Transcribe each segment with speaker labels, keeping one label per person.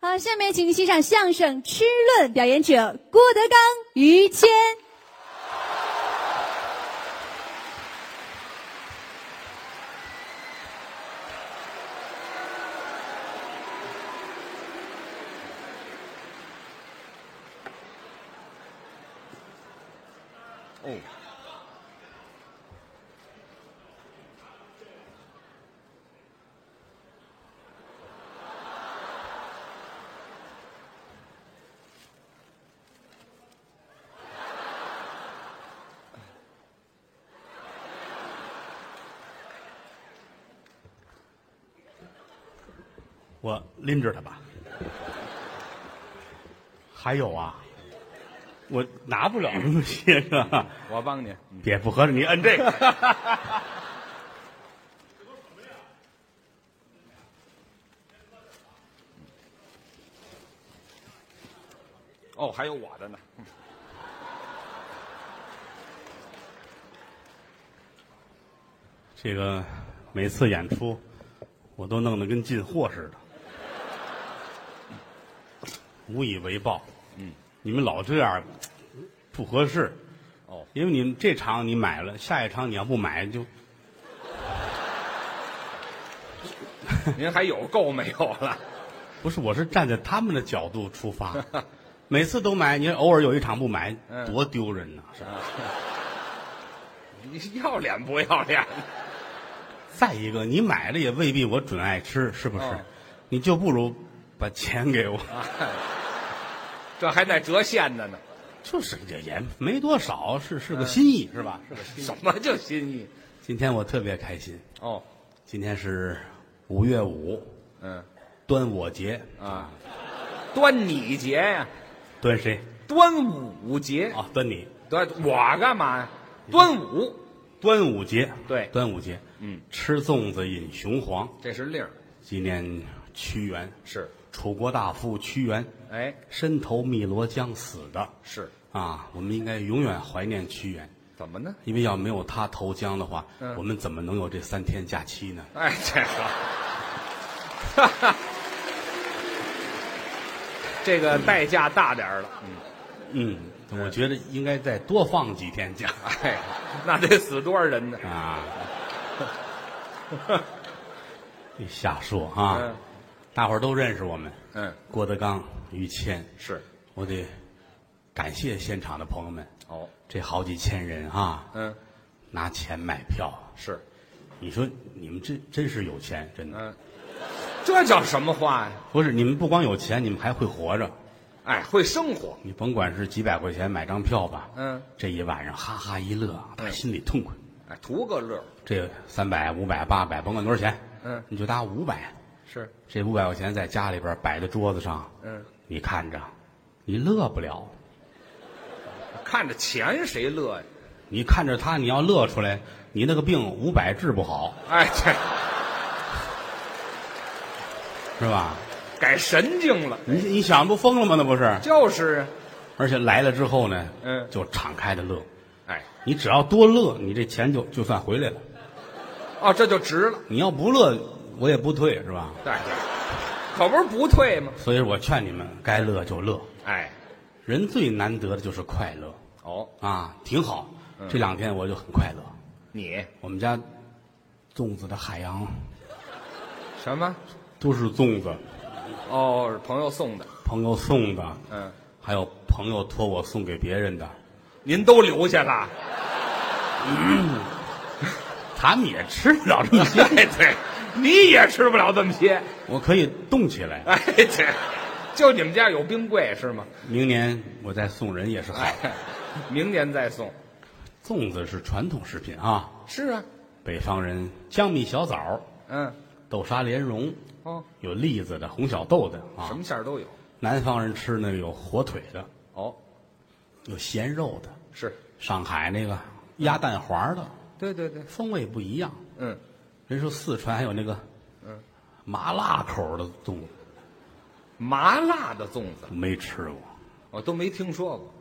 Speaker 1: 好，下面请您欣赏相声《吃论》，表演者郭德纲、于谦。
Speaker 2: 哦，
Speaker 3: 我拎着它吧。还有啊，我拿不了那么些个，
Speaker 2: 我帮你。
Speaker 3: 也不合适。你摁这个，
Speaker 2: 哦，还有我的呢。嗯
Speaker 3: 这个每次演出我都弄得跟进货似的，无以为报。
Speaker 2: 嗯，
Speaker 3: 你们老这样不合适，
Speaker 2: 哦，
Speaker 3: 因为你们这场你买了，下一场你要不买就
Speaker 2: 您还有够没有了？
Speaker 3: 不是，我是站在他们的角度出发， 每次都买，你偶尔有一场不买，
Speaker 2: 嗯
Speaker 3: 多丢人呐、是吧
Speaker 2: 你是要脸不要脸？
Speaker 3: 再一个，你买了也未必我准爱吃，是不是？
Speaker 2: 嗯
Speaker 3: 你就不如把钱给我，
Speaker 2: 这还带折现的呢？
Speaker 3: 就是这也没多少，是是个心意，是吧？啊是个心意。
Speaker 2: 什么叫心意？
Speaker 3: 今天我特别开心，
Speaker 2: 哦，
Speaker 3: 今天是五月五，
Speaker 2: 嗯
Speaker 3: 端我节，
Speaker 2: 啊，端你节呀，
Speaker 3: 端谁？
Speaker 2: 端午节，
Speaker 3: 啊，端你，
Speaker 2: 端我干嘛呀？端午，
Speaker 3: 端午节，
Speaker 2: 对
Speaker 3: 端午节，
Speaker 2: 嗯，
Speaker 3: 吃粽子饮雄黄，
Speaker 2: 这是令儿
Speaker 3: 纪念屈原，
Speaker 2: 是，
Speaker 3: 楚国大夫屈原。
Speaker 2: 哎，
Speaker 3: 身投汨罗江死的
Speaker 2: 是
Speaker 3: 啊，我们应该永远怀念屈原，
Speaker 2: 怎么呢？
Speaker 3: 因为要没有他投江的话，
Speaker 2: 嗯
Speaker 3: 我们怎么能有这三天假期呢？
Speaker 2: 哎，这个， 这个代价大点儿了。嗯，
Speaker 3: 嗯，我觉得应该再多放几天假
Speaker 2: 哎，那得死多少人呢？
Speaker 3: 啊。你瞎说啊！
Speaker 2: 嗯
Speaker 3: 大伙儿都认识我们，
Speaker 2: 嗯，
Speaker 3: 郭德纲、于谦，
Speaker 2: 是，
Speaker 3: 我得感谢现场的朋友们，
Speaker 2: 哦，
Speaker 3: 这好几千人啊，
Speaker 2: 嗯，
Speaker 3: 拿钱买票，
Speaker 2: 是，
Speaker 3: 你说你们这真是有钱，真的。
Speaker 2: 嗯，这叫什么话呀？
Speaker 3: 不是，你们不光有钱，你们还会活着。
Speaker 2: 哎，会生活，
Speaker 3: 你甭管是几百块钱买张票吧，
Speaker 2: 嗯，
Speaker 3: 这一晚上哈哈一乐，打心里痛快。
Speaker 2: 哎，图个乐儿，
Speaker 3: 这三百、五百、八百，甭管多少钱，
Speaker 2: 嗯
Speaker 3: 你就搭五百。
Speaker 2: 是，
Speaker 3: 这五百块钱在家里边摆在桌子上，
Speaker 2: 嗯，
Speaker 3: 你看着，你乐不了。
Speaker 2: 看着钱谁乐呀？
Speaker 3: 你看着他，你要乐出来，你那个病五百治不好，
Speaker 2: 哎，这
Speaker 3: 是吧？
Speaker 2: 改神经了，
Speaker 3: 你你想不疯了吗？那不是？
Speaker 2: 就是啊，
Speaker 3: 而且来了之后呢，
Speaker 2: 嗯
Speaker 3: 就敞开的乐。
Speaker 2: 哎，
Speaker 3: 你只要多乐，你这钱就就算回来了。
Speaker 2: 哦，这就值了，
Speaker 3: 你要不乐，我也不退，是吧？
Speaker 2: 对，可不是不退吗？
Speaker 3: 所以我劝你们，该乐就乐。
Speaker 2: 哎，
Speaker 3: 人最难得的就是快乐
Speaker 2: 哦，
Speaker 3: 啊，挺好。这两天我就很快乐。
Speaker 2: 你
Speaker 3: 我们家粽子的海洋
Speaker 2: 什么？
Speaker 3: 都是粽子，
Speaker 2: 哦，是朋友送的，
Speaker 3: 朋友送的，
Speaker 2: 嗯，
Speaker 3: 还有朋友托我送给别人的，
Speaker 2: 您都留下了，
Speaker 3: 他们也吃不了这么些。
Speaker 2: 哎，对，你也吃不了这么些，
Speaker 3: 我可以冻起来，
Speaker 2: 哎，这就你们家有冰柜是吗？
Speaker 3: 明年我再送人也是好。
Speaker 2: 哎，明年再送。
Speaker 3: 粽子是传统食品啊，
Speaker 2: 是啊，
Speaker 3: 北方人江米小枣、
Speaker 2: 嗯，
Speaker 3: 豆沙莲蓉，
Speaker 2: 哦，
Speaker 3: 有栗子的、红小豆的啊。
Speaker 2: 什么馅儿都有。
Speaker 3: 南方人吃那个有火腿的，
Speaker 2: 哦，
Speaker 3: 有咸肉的，
Speaker 2: 是，
Speaker 3: 上海那个鸭蛋黄的，
Speaker 2: 对对对，
Speaker 3: 风味不一样。
Speaker 2: 嗯，
Speaker 3: 人说四川还有那个，
Speaker 2: 嗯，
Speaker 3: 麻辣口的粽子
Speaker 2: 麻辣的粽子
Speaker 3: 没吃过，
Speaker 2: 我都没听说过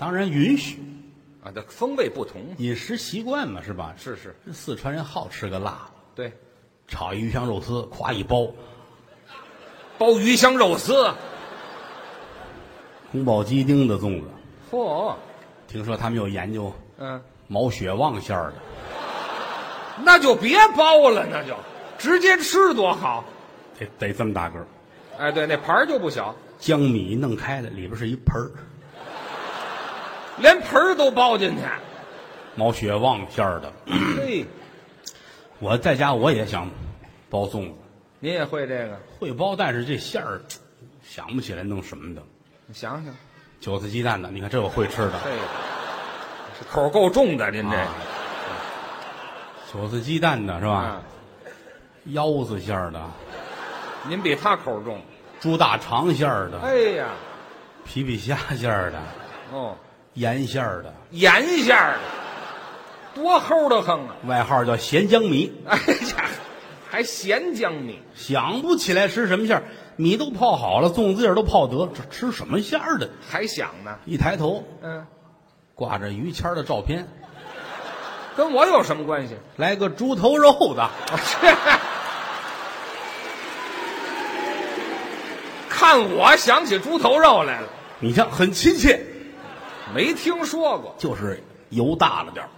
Speaker 3: 当然允许，
Speaker 2: 啊，这风味不同。
Speaker 3: 饮食习惯嘛，是吧？
Speaker 2: 是是，
Speaker 3: 四川人好吃个辣的，
Speaker 2: 对，
Speaker 3: 炒一鱼香肉丝，夸一包，
Speaker 2: 包鱼香肉丝。
Speaker 3: 宫保鸡丁的粽子。
Speaker 2: 嚯，
Speaker 3: 听说他们有研究
Speaker 2: 嗯，
Speaker 3: 毛血旺馅儿的，
Speaker 2: 那就别包了，那就直接吃多好。
Speaker 3: 得得这么大个儿，
Speaker 2: 哎，对，那盘儿就不小，
Speaker 3: 江米弄开了，里边是一盆儿
Speaker 2: 连盆儿都包进去。
Speaker 3: 毛血旺馅儿的。
Speaker 2: 嘿，
Speaker 3: 我在家我也想包粽子，
Speaker 2: 您也会这个？
Speaker 3: 会包，但是这馅儿想不起来弄什么的。
Speaker 2: 你想想，
Speaker 3: 韭菜鸡蛋的，你看这我会吃的。
Speaker 2: 嘿，这口儿够重的，您这
Speaker 3: 啊，韭菜鸡蛋的是吧？
Speaker 2: 啊，嗯
Speaker 3: 腰子馅儿的，
Speaker 2: 您比他口儿重。
Speaker 3: 猪大肠馅儿的，
Speaker 2: 哎呀，
Speaker 3: 皮皮虾馅儿的，
Speaker 2: 哦，
Speaker 3: 盐馅儿的，
Speaker 2: 盐馅儿的，多齁的很啊！
Speaker 3: 外号叫咸江米。
Speaker 2: 哎呀，还咸江米，
Speaker 3: 想不起来吃什么馅儿，米都泡好了，粽子叶儿都泡得，这吃什么馅儿的？
Speaker 2: 还想呢？
Speaker 3: 一抬头，
Speaker 2: 嗯，
Speaker 3: 挂着于谦儿的照片，
Speaker 2: 跟我有什么关系？
Speaker 3: 来个猪头肉的，
Speaker 2: 看我想起猪头肉来了，
Speaker 3: 你看很亲切，
Speaker 2: 没听说过，
Speaker 3: 就是油大了点儿，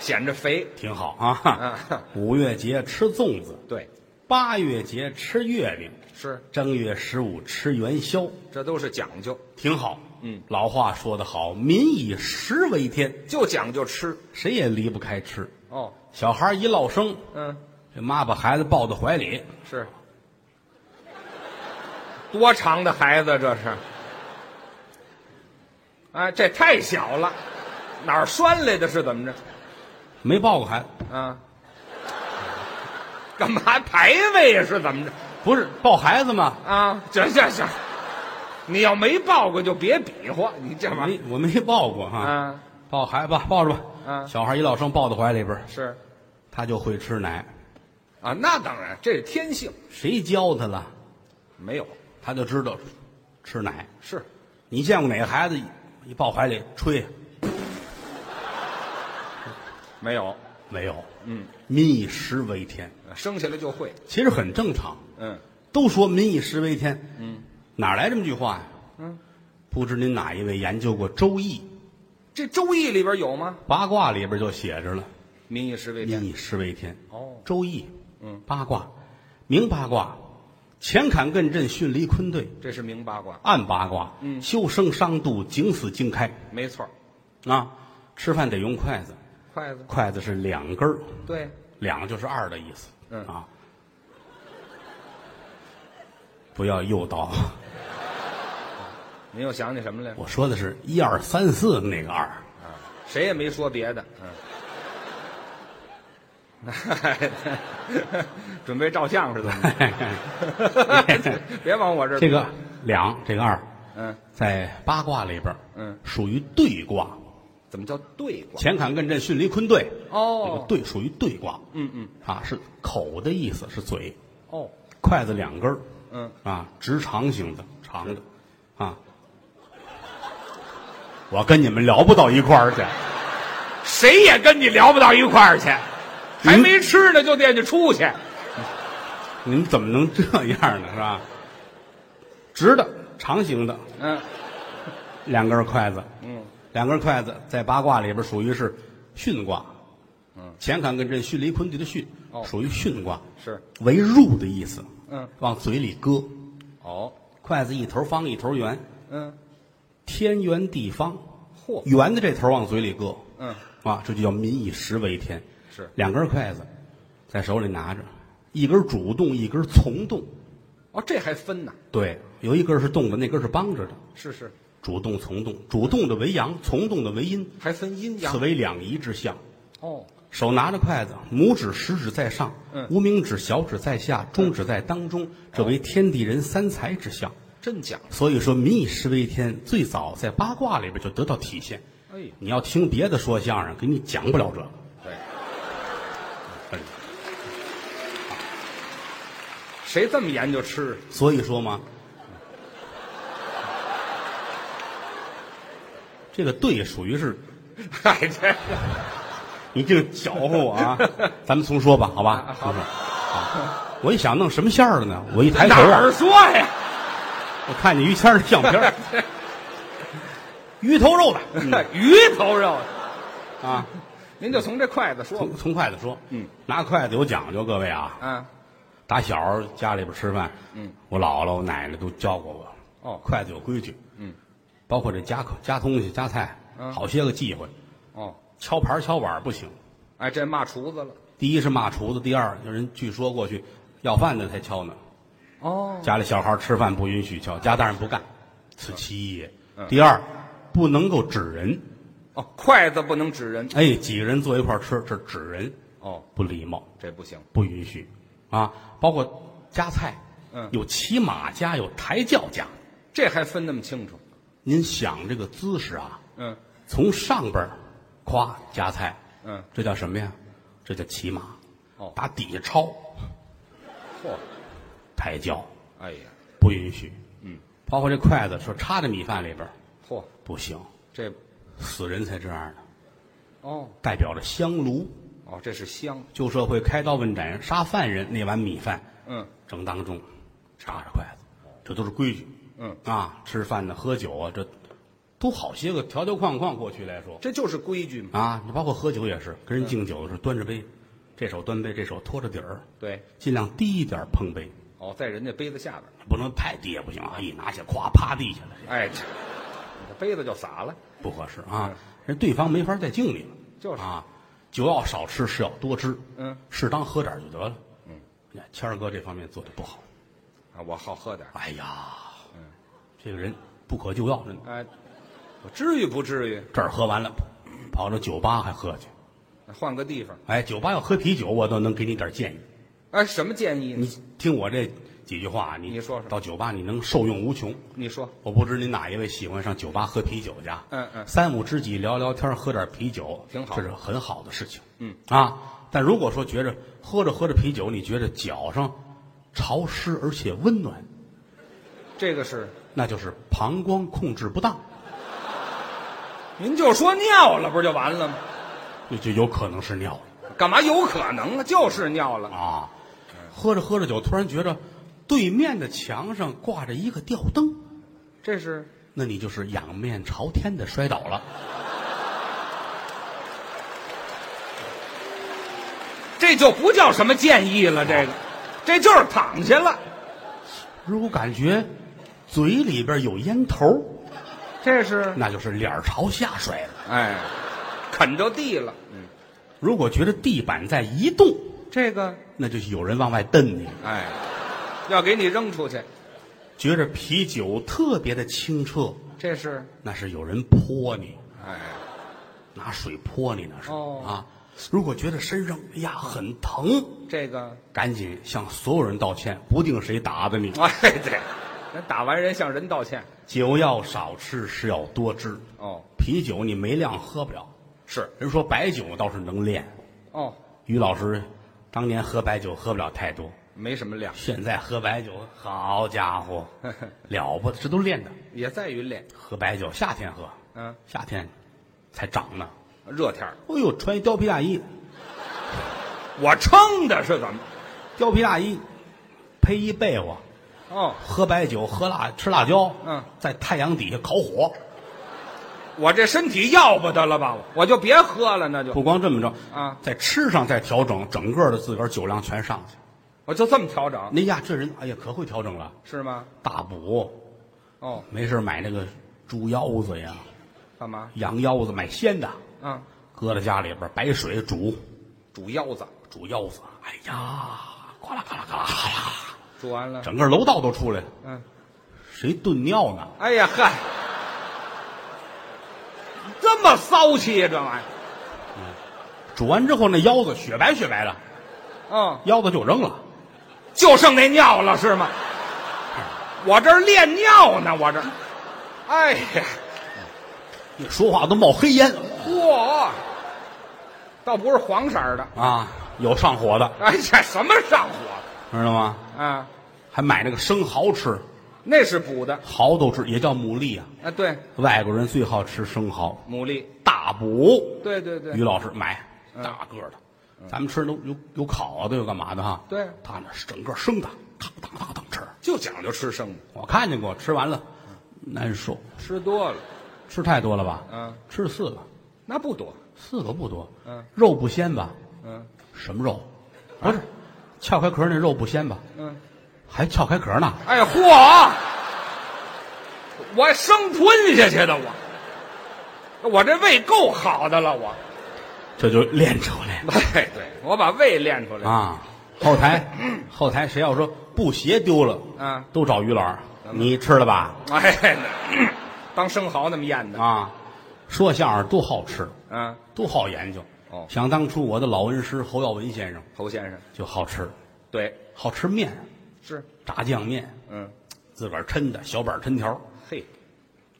Speaker 2: 显着肥。
Speaker 3: 挺好啊
Speaker 2: 嗯。
Speaker 3: 五月节吃粽子，
Speaker 2: 对，
Speaker 3: 八月节吃月饼，
Speaker 2: 是，
Speaker 3: 正月十五吃元宵，
Speaker 2: 这都是讲究，
Speaker 3: 挺好。
Speaker 2: 嗯，
Speaker 3: 老话说得好，民以食为天，
Speaker 2: 就讲究吃。
Speaker 3: 谁也离不开吃。
Speaker 2: 哦，
Speaker 3: 小孩儿一落生，
Speaker 2: 嗯，
Speaker 3: 这妈把孩子抱到怀里，
Speaker 2: 是。多长的孩子这是？哎，这太小了，哪儿拴来的？是怎么着？
Speaker 3: 没抱过孩子，
Speaker 2: 啊？干嘛排位呀？是怎么着？
Speaker 3: 不是抱孩子吗？
Speaker 2: 啊，这这这，你要没抱过就别比划，你这玩意
Speaker 3: 没，我没抱过
Speaker 2: 儿
Speaker 3: 哈。
Speaker 2: 啊
Speaker 3: 抱孩子吧，抱着吧。
Speaker 2: 嗯
Speaker 3: 小孩一落生抱到怀里边儿，
Speaker 2: 是
Speaker 3: 他就会吃奶。
Speaker 2: 啊，那当然，这是天性，
Speaker 3: 谁教他了？
Speaker 2: 没有
Speaker 3: 他就知道吃奶。
Speaker 2: 是
Speaker 3: 你见过哪个孩子一抱怀里吹？
Speaker 2: 没有，
Speaker 3: 没有。
Speaker 2: 嗯，
Speaker 3: 民以食为天，
Speaker 2: 生下来就会，
Speaker 3: 其实很正常。
Speaker 2: 嗯，
Speaker 3: 都说民以食为天，嗯，哪来这么句话呀？
Speaker 2: 嗯，
Speaker 3: 不知您哪一位研究过《周易》
Speaker 2: 这《周易》里边有吗？
Speaker 3: 八卦里边就写着了
Speaker 2: 民以
Speaker 3: “
Speaker 2: 食为
Speaker 3: 民
Speaker 2: 天。
Speaker 3: 以食为天”。
Speaker 2: 哦
Speaker 3: 《周易》
Speaker 2: 嗯，
Speaker 3: 八卦，明八卦，乾坎艮震巽离坤兑；
Speaker 2: 这是明八卦，
Speaker 3: 暗八卦，
Speaker 2: 嗯
Speaker 3: 修生伤度，景死惊开。
Speaker 2: 没错儿。
Speaker 3: 啊，吃饭得用筷子，
Speaker 2: 筷子，
Speaker 3: 筷子是两根儿，
Speaker 2: 对，
Speaker 3: 两就是二的意思。
Speaker 2: 嗯
Speaker 3: 啊， 不要诱导，
Speaker 2: 您又想起什么来了？
Speaker 3: 我说的是一二三四那个二。
Speaker 2: 谁也没说别的，嗯。 准备照相是 怎么着？别往我这 儿
Speaker 3: 这个两，这个二，
Speaker 2: 嗯，
Speaker 3: 在八卦里边儿，
Speaker 2: 嗯
Speaker 3: 属于对卦。
Speaker 2: 怎么叫对卦？
Speaker 3: 乾坎艮震巽离坤兑，
Speaker 2: 哦
Speaker 3: 这个兑属于对卦。
Speaker 2: 嗯嗯，
Speaker 3: 啊，是口的意思，是嘴，
Speaker 2: 哦，
Speaker 3: 筷子两根儿，
Speaker 2: 嗯，
Speaker 3: 啊，直长型的，长的，啊。我跟你们聊不到一块儿去，
Speaker 2: 谁也跟你聊不到一块儿去，还没吃呢就惦记出去。
Speaker 3: 你们怎么能这样呢？是吧？直的，长形的，
Speaker 2: 嗯
Speaker 3: 两根筷子，
Speaker 2: 嗯，
Speaker 3: 两根筷子在八卦里边属于是巽卦，嗯，乾坎艮震巽离坤兑的巽，
Speaker 2: 哦
Speaker 3: 属于巽卦，
Speaker 2: 是，
Speaker 3: 为入的意思，
Speaker 2: 嗯，
Speaker 3: 往嘴里搁，
Speaker 2: 哦，
Speaker 3: 筷子一头方一头圆，
Speaker 2: 嗯，
Speaker 3: 天圆地方，
Speaker 2: 嚯，
Speaker 3: 圆的这头往嘴里搁，
Speaker 2: 嗯，
Speaker 3: 啊，这就叫民以食为天，
Speaker 2: 是
Speaker 3: 两根筷子在手里拿着，一根主动，一根从动，
Speaker 2: 哦，这还分呢，
Speaker 3: 对，有一根是动的，那根是帮着的，
Speaker 2: 是是，
Speaker 3: 主动从动，主动的为阳，从动的为阴，
Speaker 2: 还分阴阳
Speaker 3: 此。为两仪之象。
Speaker 2: 哦，
Speaker 3: 手拿着筷子，拇指、食指在上，
Speaker 2: 嗯
Speaker 3: 无名指、小指在下，中指在当中，这为天地人三才之象。
Speaker 2: 真讲，
Speaker 3: 所以说，民以食为天，最早在八卦里边就得到体现。
Speaker 2: 哎呦，
Speaker 3: 你要听别的说相声，给你讲不了这个。
Speaker 2: 对，嗯
Speaker 3: 哎
Speaker 2: 谁这么研究吃？
Speaker 3: 所以说嘛，这个对属于是，
Speaker 2: 哎，这
Speaker 3: 你净搅和我啊！咱们重说吧，好吧？
Speaker 2: 啊好
Speaker 3: 重说啊我一想弄什么馅儿的呢？我一抬头
Speaker 2: 哪儿
Speaker 3: 啊，
Speaker 2: 说呀？
Speaker 3: 我看见于谦儿的相片儿，鱼头肉的
Speaker 2: 嗯
Speaker 3: 嗯
Speaker 2: 鱼头肉，
Speaker 3: 啊。
Speaker 2: 您就从这筷子说吧
Speaker 3: 从从筷子说，
Speaker 2: 嗯，
Speaker 3: 拿筷子有讲究，各位啊，
Speaker 2: 啊。
Speaker 3: 打小家里边吃饭，嗯，我姥姥、我奶奶都教过我，
Speaker 2: 哦
Speaker 3: 筷子有规矩，嗯，包括这夹口夹东西、夹菜，
Speaker 2: 嗯
Speaker 3: 好些个忌讳，
Speaker 2: 哦，
Speaker 3: 敲盘儿敲碗儿不行。
Speaker 2: 哎，这骂厨子了。
Speaker 3: 第一是骂厨子，第二有人据说过去要饭的才敲呢，
Speaker 2: 哦，
Speaker 3: 家里小孩吃饭不允许敲，家大人不干，此其一也。
Speaker 2: 嗯
Speaker 3: 第二，不能够指人，
Speaker 2: 哦，筷子不能指人。
Speaker 3: 哎，几个人坐一块儿吃，这指人
Speaker 2: 哦，
Speaker 3: 不礼貌，
Speaker 2: 这不行。
Speaker 3: 不允许啊。包括夹菜，
Speaker 2: 嗯
Speaker 3: 有骑马夹，有抬轿夹。
Speaker 2: 这还分那么清楚？
Speaker 3: 您想这个姿势啊，
Speaker 2: 嗯
Speaker 3: 从上边儿夸夹菜，
Speaker 2: 嗯，
Speaker 3: 这叫什么呀？这叫骑马。
Speaker 2: 哦
Speaker 3: 打底下抄
Speaker 2: 嚯，
Speaker 3: 抬轿
Speaker 2: 哎呀，
Speaker 3: 不允许。嗯，包括这筷子说插在米饭里边儿
Speaker 2: 嚯，
Speaker 3: 不行，
Speaker 2: 这
Speaker 3: 死人才这样的，
Speaker 2: 哦
Speaker 3: 代表着香炉。
Speaker 2: 哦，这是香。
Speaker 3: 旧社会开刀问斩杀犯人那碗米饭，
Speaker 2: 嗯
Speaker 3: 正当中插着筷子，这都是规矩。
Speaker 2: 嗯，
Speaker 3: 啊，吃饭呢，喝酒啊，这都好些个条条框框。过去来说
Speaker 2: 这就是规矩嘛。
Speaker 3: 啊，你包括喝酒也是，跟
Speaker 2: 嗯
Speaker 3: 人敬酒的时候端着杯，这手端杯，这手托着底儿，
Speaker 2: 对，
Speaker 3: 尽量低一点碰杯，
Speaker 2: 哦，在人家杯子下边。
Speaker 3: 不能太低也不行啊！一拿起来，咵趴地下了，
Speaker 2: 哎，这你的杯子就洒了。
Speaker 3: 不合适啊！人对方没法再敬你了，
Speaker 2: 嗯就是
Speaker 3: 啊，酒要少吃，是要多吃，
Speaker 2: 嗯，
Speaker 3: 适当喝点就得了。嗯，谦儿哥这方面做的不好。
Speaker 2: 啊，我好喝点儿。
Speaker 3: 哎呀，
Speaker 2: 嗯
Speaker 3: 这个人不可救药，真的。
Speaker 2: 哎，我至于不至于？
Speaker 3: 这儿喝完了，跑到酒吧还喝去。
Speaker 2: 换个地方。
Speaker 3: 哎，酒吧要喝啤酒，我都能给你点建议。
Speaker 2: 哎，什么建议呢
Speaker 3: 你？听我这几句话，你
Speaker 2: 你说说
Speaker 3: 到酒吧你能受用无穷。
Speaker 2: 你说。
Speaker 3: 我不知您哪一位喜欢上酒吧喝啤酒去啊？
Speaker 2: 嗯嗯
Speaker 3: 三五知己聊聊天，喝点啤酒，
Speaker 2: 挺好
Speaker 3: 这是很好的事情。
Speaker 2: 嗯
Speaker 3: 啊，但如果说觉着喝着喝着啤酒，你觉着脚上潮湿而且温暖，
Speaker 2: 这个是，
Speaker 3: 那就是膀胱控制不当，
Speaker 2: 您就说尿了，不就完了吗？
Speaker 3: 就就有可能是尿了
Speaker 2: 干嘛有可能啊？就是尿了。
Speaker 3: 啊。喝着喝着酒，突然觉着对面的墙上挂着一个吊灯，
Speaker 2: 这是
Speaker 3: 那你就是仰面朝天的摔倒了。
Speaker 2: 这就不叫什么建议了，这个，这就是躺下了，
Speaker 3: 如果感觉嘴里边有烟头，
Speaker 2: 这是
Speaker 3: 那就是脸儿朝下摔了。
Speaker 2: 哎，啃着地了，嗯，
Speaker 3: 如果觉得地板在移动，
Speaker 2: 这个
Speaker 3: 那就是有人往外蹬你。
Speaker 2: 哎，要给你扔出去，
Speaker 3: 觉着啤酒特别的清澈，
Speaker 2: 这是
Speaker 3: 那是有人泼你，
Speaker 2: 哎，
Speaker 3: 拿水泼你那是、
Speaker 2: 哦
Speaker 3: 啊。如果觉得身上哎呀很疼，
Speaker 2: 这个
Speaker 3: 赶紧向所有人道歉，不定谁打的你。
Speaker 2: 哎对，人打完人向人道歉，
Speaker 3: 酒要少吃，是要多吃。
Speaker 2: 哦，
Speaker 3: 啤酒你没量喝不了，
Speaker 2: 是
Speaker 3: 人说白酒倒是能练。
Speaker 2: 哦，
Speaker 3: 于老师当年喝白酒喝不了太多，
Speaker 2: 没什么量，
Speaker 3: 现在喝白酒，好家 伙，了不得，这都练的。
Speaker 2: 也在于练，
Speaker 3: 喝白酒，夏天喝，
Speaker 2: 嗯，
Speaker 3: 夏天才长呢。
Speaker 2: 热天儿
Speaker 3: 哎呦，穿一貂皮大衣，
Speaker 2: 我撑的是怎么？
Speaker 3: 貂皮大衣，披一被窝，
Speaker 2: 哦，
Speaker 3: 喝白酒，喝辣，吃辣椒，
Speaker 2: 嗯，
Speaker 3: 在太阳底下烤火。
Speaker 2: 我这身体要不得了吧？我我就别喝了，那就
Speaker 3: 不光这么着
Speaker 2: 啊
Speaker 3: 在吃上再调整，整个的自个儿酒量全上去。
Speaker 2: 我就这么调整，
Speaker 3: 那呀，这人哎呀可会调整了，
Speaker 2: 是吗？
Speaker 3: 大补，
Speaker 2: 哦，
Speaker 3: 没事儿买那个猪腰子呀、
Speaker 2: 干嘛？
Speaker 3: 羊腰子，买鲜的，
Speaker 2: 啊，
Speaker 3: 搁在家里边儿白水煮，
Speaker 2: 煮腰子，
Speaker 3: 煮腰子，哎呀，呱啦呱啦呱啦呱啦，
Speaker 2: 煮完了，
Speaker 3: 整个楼道都出来了。
Speaker 2: 嗯，
Speaker 3: 谁炖尿呢？
Speaker 2: 哎呀嗨，这么骚气呀、这玩意儿，
Speaker 3: 煮完之后那腰子雪白雪白的，
Speaker 2: 嗯，
Speaker 3: 腰子就扔了。
Speaker 2: 就剩那尿了是吗？我这儿练尿呢，我这儿，哎呀，
Speaker 3: 一说话都冒黑烟
Speaker 2: 嚯，倒不是黄色儿的，
Speaker 3: 啊！有上火的，
Speaker 2: 哎这什么上火
Speaker 3: 知道吗？
Speaker 2: 啊？
Speaker 3: 还买那个生蚝吃，
Speaker 2: 那是补的
Speaker 3: 蚝都吃，也叫牡蛎啊。
Speaker 2: 啊，对，
Speaker 3: 外国人最好吃生蚝，
Speaker 2: 牡蛎，
Speaker 3: 大补。
Speaker 2: 对对对
Speaker 3: 于，老师买
Speaker 2: 嗯
Speaker 3: 大个儿的，咱们吃都有有烤的，有干嘛的哈？
Speaker 2: 对
Speaker 3: 他那是整个生的，当当当当吃。
Speaker 2: 就讲究吃生的，
Speaker 3: 我看见过，吃完了
Speaker 2: 嗯
Speaker 3: 难受，
Speaker 2: 吃多了
Speaker 3: 吃太多了吧？
Speaker 2: 嗯，
Speaker 3: 吃四个，
Speaker 2: 那不多，
Speaker 3: 四个不多。
Speaker 2: 嗯，
Speaker 3: 肉不鲜吧？
Speaker 2: 嗯
Speaker 3: 什么肉？不是，撬开壳那肉不鲜吧？
Speaker 2: 嗯，
Speaker 3: 还撬开壳呢？
Speaker 2: 哎嚯，我生吞下去的我，我这胃够好的了我，
Speaker 3: 这就练出来了
Speaker 2: 对对，我把胃练出来，
Speaker 3: 啊！后台，后台谁要说布鞋丢了，
Speaker 2: 嗯
Speaker 3: 都找于老儿，你吃了吧？
Speaker 2: 哎，那当生蚝那么咽的，
Speaker 3: 啊，说相声多好吃，
Speaker 2: 啊，
Speaker 3: 多好研究。
Speaker 2: 哦
Speaker 3: 想当初我的老恩师侯耀文先生
Speaker 2: 侯先生，
Speaker 3: 就好吃，
Speaker 2: 对，
Speaker 3: 好吃面，
Speaker 2: 是，
Speaker 3: 炸酱面，
Speaker 2: 嗯，
Speaker 3: 自个儿抻的小板抻条，
Speaker 2: 嘿，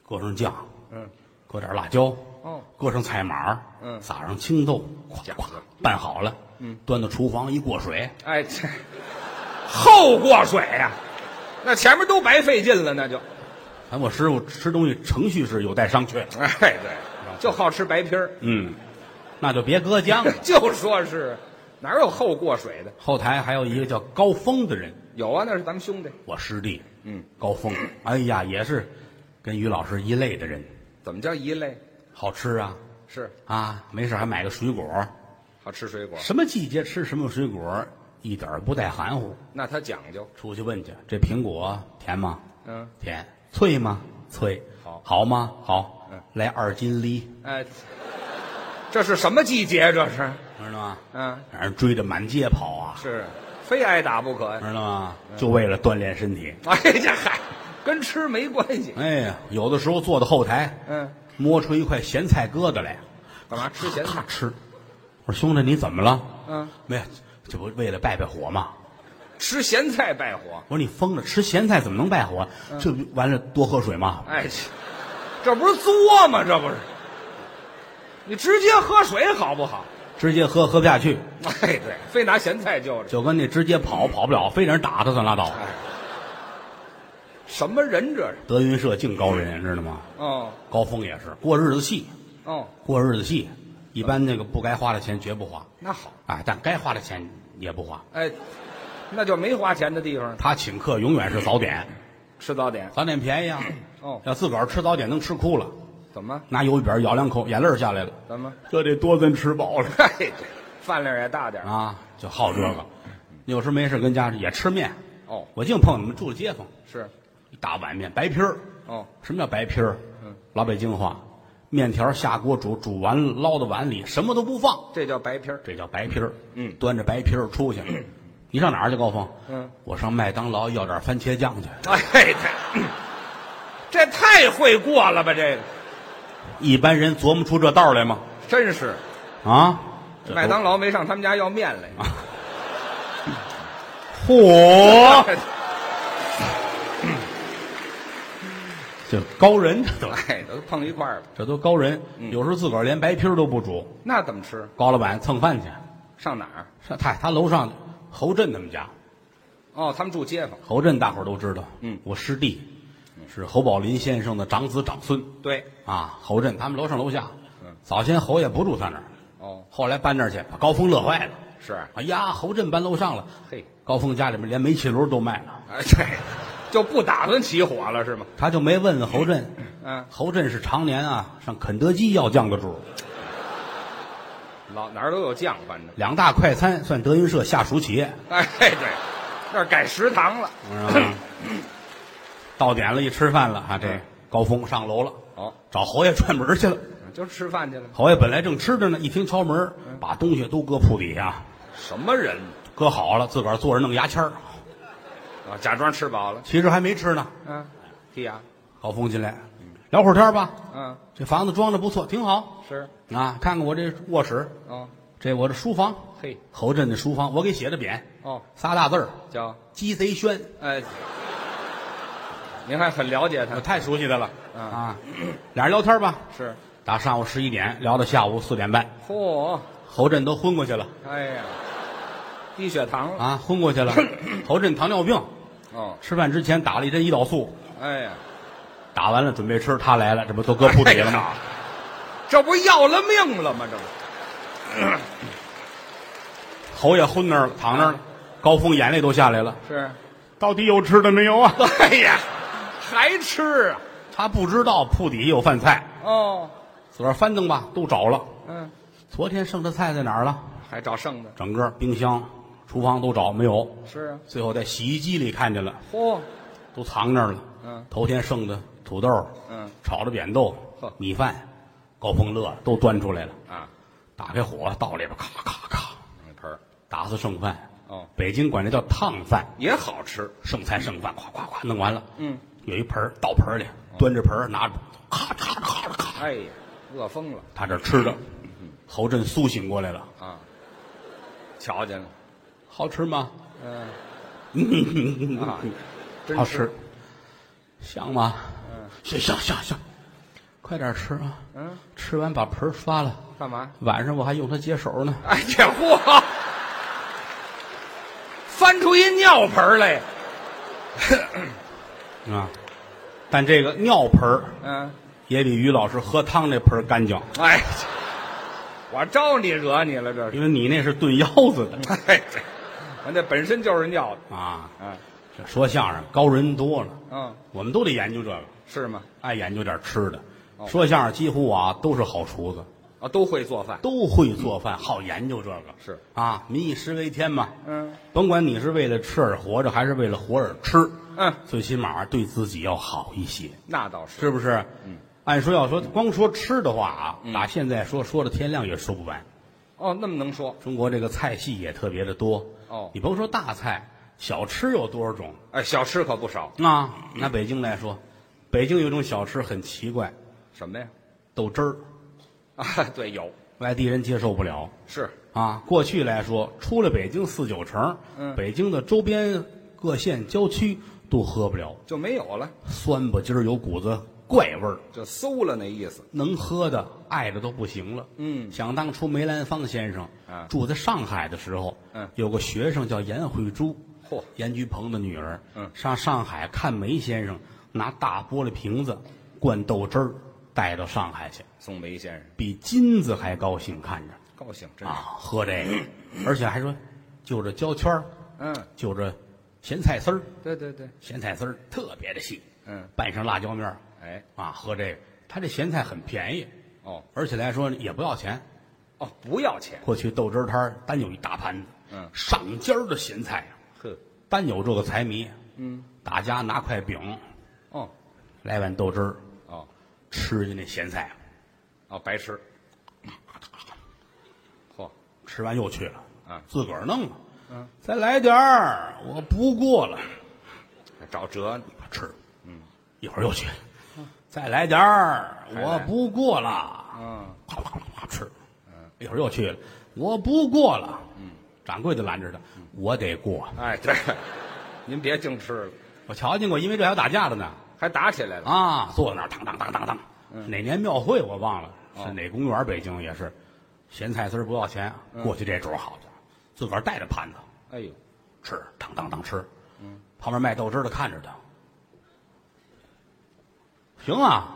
Speaker 3: 搁上酱，
Speaker 2: 嗯，
Speaker 3: 搁点辣椒，
Speaker 2: 哦，
Speaker 3: 搁上菜码，
Speaker 2: 嗯
Speaker 3: 撒上青豆，咵
Speaker 2: 家
Speaker 3: 咵
Speaker 2: 伙
Speaker 3: 拌好了，嗯，端到厨房一过水，
Speaker 2: 哎，这后过水呀、那前面都白费劲了，那就，
Speaker 3: 反正我师傅吃东西程序是有待商榷，
Speaker 2: 哎，对，就好吃白皮儿，
Speaker 3: 嗯，那就别搁姜了。
Speaker 2: 就说是哪有后过水的？
Speaker 3: 后台还有一个叫高峰的人，
Speaker 2: 有啊，那是咱们兄弟，
Speaker 3: 我师弟，
Speaker 2: 嗯，
Speaker 3: 高峰，哎呀，也是跟于老师一类的人，
Speaker 2: 怎么叫一类？
Speaker 3: 好吃啊
Speaker 2: 是
Speaker 3: 啊，没事还买个水果，
Speaker 2: 好吃水果，
Speaker 3: 什么季节吃什么水果，一点儿不带含糊。
Speaker 2: 那他讲究，
Speaker 3: 出去问去，这苹果甜吗？
Speaker 2: 嗯，
Speaker 3: 甜。脆吗？脆。
Speaker 2: 好
Speaker 3: 好吗？好。
Speaker 2: 嗯
Speaker 3: 来二斤梨，
Speaker 2: 哎，这是什么季节？这是，
Speaker 3: 知道吗？
Speaker 2: 嗯，
Speaker 3: 让人追着满街跑啊，
Speaker 2: 是非挨打不可。
Speaker 3: 知道吗？
Speaker 2: 嗯
Speaker 3: 就为了锻炼身体。
Speaker 2: 哎呀，嗨，跟吃没关系。
Speaker 3: 哎呀，有的时候坐到后台，
Speaker 2: 嗯，
Speaker 3: 摸出一块咸菜疙瘩来，
Speaker 2: 干嘛吃咸
Speaker 3: 咔
Speaker 2: 菜？
Speaker 3: 吃。我说兄弟，你怎么了？
Speaker 2: 嗯，
Speaker 3: 没有，这不为了败败火吗？
Speaker 2: 吃咸菜败火。
Speaker 3: 我说你疯了，吃咸菜怎么能败火？
Speaker 2: 嗯
Speaker 3: 这不完了多喝水吗？
Speaker 2: 哎，切这不是作吗？这不是，你直接喝水好不好？
Speaker 3: 直接喝喝不下去，
Speaker 2: 哎，对，非拿咸菜就着，
Speaker 3: 就跟那直接跑跑不了，非得人打他算拉倒。
Speaker 2: 什么人这是？
Speaker 3: 德云社净高人，知道吗？
Speaker 2: 哦
Speaker 3: 高峰也是过日子细，
Speaker 2: 哦，
Speaker 3: 过日子细，一般那个不该花的钱绝不花，
Speaker 2: 那好，
Speaker 3: 哎，但该花的钱也不花。
Speaker 2: 哎，那就没花钱的地方了，
Speaker 3: 他请客永远是早点，
Speaker 2: 吃早点。
Speaker 3: 早点便宜啊。
Speaker 2: 哦
Speaker 3: 要自个儿吃早点能吃哭了，
Speaker 2: 怎么？
Speaker 3: 拿油饼咬两口，眼泪儿下来了，
Speaker 2: 怎么？
Speaker 3: 这得多咱吃饱了
Speaker 2: 哎，对，饭量也大点儿。
Speaker 3: 啊，就好这个。有时没事跟家也吃面，
Speaker 2: 哦，
Speaker 3: 我净碰你们住的街坊，
Speaker 2: 是，
Speaker 3: 一大碗面白皮儿。
Speaker 2: 哦，
Speaker 3: 什么叫白皮儿？老北京话，面条下锅煮，煮完了捞到碗里，什么都不放，
Speaker 2: 这叫白皮儿。
Speaker 3: 这叫白皮儿。
Speaker 2: 嗯
Speaker 3: 端着白皮儿出去，你上哪儿去，高峰？
Speaker 2: 嗯，
Speaker 3: 我上麦当劳要点番茄酱去。
Speaker 2: 哎，对，这太会过了吧？这个
Speaker 3: 一般人琢磨出这道来吗？
Speaker 2: 真是，
Speaker 3: 啊，这都
Speaker 2: 麦当劳没上他们家要面来。
Speaker 3: 嚯， 这高人这都，
Speaker 2: 哎，都碰一块儿了，
Speaker 3: 这都高人。有时候自个儿连白皮儿都不煮，
Speaker 2: 那怎么吃？
Speaker 3: 高老板蹭饭去。
Speaker 2: 上哪儿？
Speaker 3: 上他他楼上侯震他们家，
Speaker 2: 哦，他们住街坊。
Speaker 3: 侯震大伙儿都知道，
Speaker 2: 嗯
Speaker 3: 我师弟是侯宝林先生的长子长孙
Speaker 2: 对，
Speaker 3: 啊。侯震他们楼上楼下
Speaker 2: 嗯，
Speaker 3: 早先侯爷不住他那儿，
Speaker 2: 哦，
Speaker 3: 后来搬那儿去，把高峰乐坏了。
Speaker 2: 是啊，
Speaker 3: 哎呀，侯震搬楼上了，
Speaker 2: 嘿，
Speaker 3: 高峰家里面连煤气炉都卖了，
Speaker 2: 哎，对，就不打算起火了是吗？
Speaker 3: 他就没问问侯震。
Speaker 2: 嗯，
Speaker 3: 侯震是常年啊上肯德基要酱的主，
Speaker 2: 老哪儿都有酱，反正。
Speaker 3: 两大快餐算德云社下属企业，
Speaker 2: 哎，对，那儿改食堂了。
Speaker 3: 是吧嗯到点了，一吃饭了啊，
Speaker 2: 嗯
Speaker 3: 这高峰上楼了，
Speaker 2: 哦，
Speaker 3: 找侯爷串门去了。
Speaker 2: 就吃饭去了。
Speaker 3: 侯爷本来正吃着呢，一听敲门，把东西都搁铺底下，
Speaker 2: 什么人
Speaker 3: 搁好了，自个儿坐着弄牙签儿，
Speaker 2: 啊？假装吃饱了。
Speaker 3: 其实还没吃呢。
Speaker 2: 嗯，剔牙。
Speaker 3: 高峰进来，聊会儿天吧，
Speaker 2: 嗯，
Speaker 3: 这房子装的不错，挺好
Speaker 2: 是。
Speaker 3: 啊。看看我这卧室，
Speaker 2: 哦，
Speaker 3: 这我这书房，
Speaker 2: 嘿，
Speaker 3: 侯震的书房，我给写的匾，
Speaker 2: 哦，
Speaker 3: 仨大字儿
Speaker 2: 叫
Speaker 3: “鸡贼轩”。
Speaker 2: 哎，您还很了解
Speaker 3: 我
Speaker 2: 他。
Speaker 3: 太熟悉他了
Speaker 2: 嗯
Speaker 3: 啊！俩人聊天吧，
Speaker 2: 是。
Speaker 3: 打上午十一点聊到下午四点半，
Speaker 2: 嚯、
Speaker 3: 侯震都昏过去了
Speaker 2: 哎呀，低血糖了。
Speaker 3: 啊，昏过去了。侯震糖尿病，
Speaker 2: 哦，
Speaker 3: 吃饭之前打了一针胰岛素，
Speaker 2: 哎呀，
Speaker 3: 打完了准备吃，他来了，这不都搁铺底了吗？
Speaker 2: 这不要了命了吗？这不。
Speaker 3: 头也昏那儿了，躺那儿了，高峰眼泪都下来了。
Speaker 2: 是，
Speaker 3: 到底有吃的没有 啊？
Speaker 2: 哎呀，还吃啊？
Speaker 3: 他不知道铺底下有饭菜，
Speaker 2: 哦，
Speaker 3: 自个儿翻腾吧，都找了。
Speaker 2: 嗯，
Speaker 3: 昨天剩的菜在哪儿了？
Speaker 2: 还找剩的。
Speaker 3: 整个冰箱、厨房都找没有，
Speaker 2: 是啊，
Speaker 3: 最后在洗衣机里看见了，
Speaker 2: 嚯，
Speaker 3: 都藏那儿了。
Speaker 2: 嗯
Speaker 3: 头天剩的土豆，
Speaker 2: 嗯，
Speaker 3: 炒的扁豆
Speaker 2: 呵、
Speaker 3: 米饭，高峰乐了都端出来了，
Speaker 2: 啊，
Speaker 3: 打开火倒里边，咔咔咔，
Speaker 2: 那盆儿
Speaker 3: 打死剩饭。
Speaker 2: 哦，
Speaker 3: 北京管这叫烫饭，
Speaker 2: 也好吃。
Speaker 3: 剩菜剩饭，咵咵咵弄完了。
Speaker 2: 嗯，哦
Speaker 3: 有一盆儿倒盆儿里，端着盆儿拿着，咔嚓咔嚓咔，
Speaker 2: 哎呀，饿疯了
Speaker 3: 他这吃着。
Speaker 2: 嗯
Speaker 3: 侯震苏醒过来了，
Speaker 2: 啊！瞧见了，
Speaker 3: 好吃吗？
Speaker 2: 嗯，
Speaker 3: 嗯
Speaker 2: 啊，真
Speaker 3: 好吃，香吗？香香香香，快点吃啊！
Speaker 2: 嗯，
Speaker 3: 吃完把盆儿刷了，
Speaker 2: 干嘛？
Speaker 3: 晚上我还用它接手呢。
Speaker 2: 哎呀，嚯！翻出一尿盆儿来，
Speaker 3: 啊，但这个尿盆儿
Speaker 2: 嗯，
Speaker 3: 也比于老师喝汤这盆儿干净，
Speaker 2: 哎，我招你惹你了这是？
Speaker 3: 因为你那是炖腰子的
Speaker 2: 哎，这我那本身就是尿的，
Speaker 3: 啊。
Speaker 2: 嗯
Speaker 3: 这说相声高人多了，
Speaker 2: 嗯，
Speaker 3: 我们都得研究这个，
Speaker 2: 是吗？
Speaker 3: 爱研究点吃的。
Speaker 2: 哦
Speaker 3: 说相声几乎啊都是好厨子，
Speaker 2: 啊，都会做饭，
Speaker 3: 都会做饭，好研究这个
Speaker 2: 嗯是
Speaker 3: 啊，民以食为天嘛。
Speaker 2: 嗯
Speaker 3: 甭管你是为了吃而活着，还是为了活而吃，
Speaker 2: 嗯，
Speaker 3: 最起码对自己要好一些，
Speaker 2: 那倒是，
Speaker 3: 是不是？嗯，按说要说光说吃的话啊，
Speaker 2: 嗯
Speaker 3: 打现在说说到天亮也说不完。
Speaker 2: 哦，那么能说，
Speaker 3: 中国这个菜系也特别的多
Speaker 2: 哦
Speaker 3: 你甭说大菜，小吃有多少种
Speaker 2: 哎，小吃可不少，
Speaker 3: 啊？拿北京来说，北京有一种小吃很奇怪，
Speaker 2: 什么呀？
Speaker 3: 豆汁儿，
Speaker 2: 啊，对，有
Speaker 3: 外地人接受不了
Speaker 2: 是，
Speaker 3: 啊。过去来说，出了北京四九城，
Speaker 2: 嗯
Speaker 3: 北京的周边各县郊区都喝不了，
Speaker 2: 就没有了，
Speaker 3: 酸吧唧儿有股子怪味儿，
Speaker 2: 就馊了那意思，
Speaker 3: 能喝的爱的都不行了。
Speaker 2: 嗯
Speaker 3: 想当初梅兰芳先生
Speaker 2: 啊
Speaker 3: 住在上海的时候，
Speaker 2: 嗯
Speaker 3: 有个学生叫颜慧珠，
Speaker 2: 嚯
Speaker 3: 严菊鹏的女儿，
Speaker 2: 嗯
Speaker 3: 上上海看梅先生拿大玻璃瓶子灌豆汁儿带到上海去，
Speaker 2: 宋梅先生
Speaker 3: 比金子还高兴看着
Speaker 2: 高兴，真是，
Speaker 3: 啊，喝这个，而且还说就着胶圈儿
Speaker 2: 嗯，
Speaker 3: 就着咸菜丝儿，
Speaker 2: 对对对，
Speaker 3: 咸菜丝儿特别的细，
Speaker 2: 嗯，
Speaker 3: 拌上辣椒面儿
Speaker 2: 哎，
Speaker 3: 啊，喝这个，他这咸菜很便宜，
Speaker 2: 哦
Speaker 3: 而且来说也不要钱。
Speaker 2: 哦，不要钱，
Speaker 3: 过去豆汁儿摊儿单有一大盘子，
Speaker 2: 嗯
Speaker 3: 上尖儿的咸菜啊，
Speaker 2: 呵，
Speaker 3: 单有这个财迷，
Speaker 2: 嗯，
Speaker 3: 大家拿块饼，
Speaker 2: 哦
Speaker 3: 来碗豆汁儿，
Speaker 2: 哦
Speaker 3: 吃进那咸菜，啊
Speaker 2: 哦，白吃，嚯，
Speaker 3: 吃完又去了，
Speaker 2: 啊
Speaker 3: 自个儿弄吧，
Speaker 2: 嗯，
Speaker 3: 再来点儿，我不过了，
Speaker 2: 找辙呢，
Speaker 3: 吃，嗯，一会儿又去，再来点儿，
Speaker 2: 来
Speaker 3: 我不过了，
Speaker 2: 嗯，
Speaker 3: 哗哗哗哗吃，嗯，一会儿又去了，我不过了，嗯，掌柜的拦着他，我得过，
Speaker 2: 哎，对，您别净吃了，
Speaker 3: 我瞧见过，因为这还有打架的呢。
Speaker 2: 还打起来了，
Speaker 3: 啊，坐在那儿，当当当当当，哪年庙会我忘了，是哪公园？北京也是，咸菜丝儿不要钱。过去这主儿好家伙，自个儿带着盘子
Speaker 2: 哎呦，
Speaker 3: 吃，当当当吃。旁边卖豆汁儿的看着他，行啊，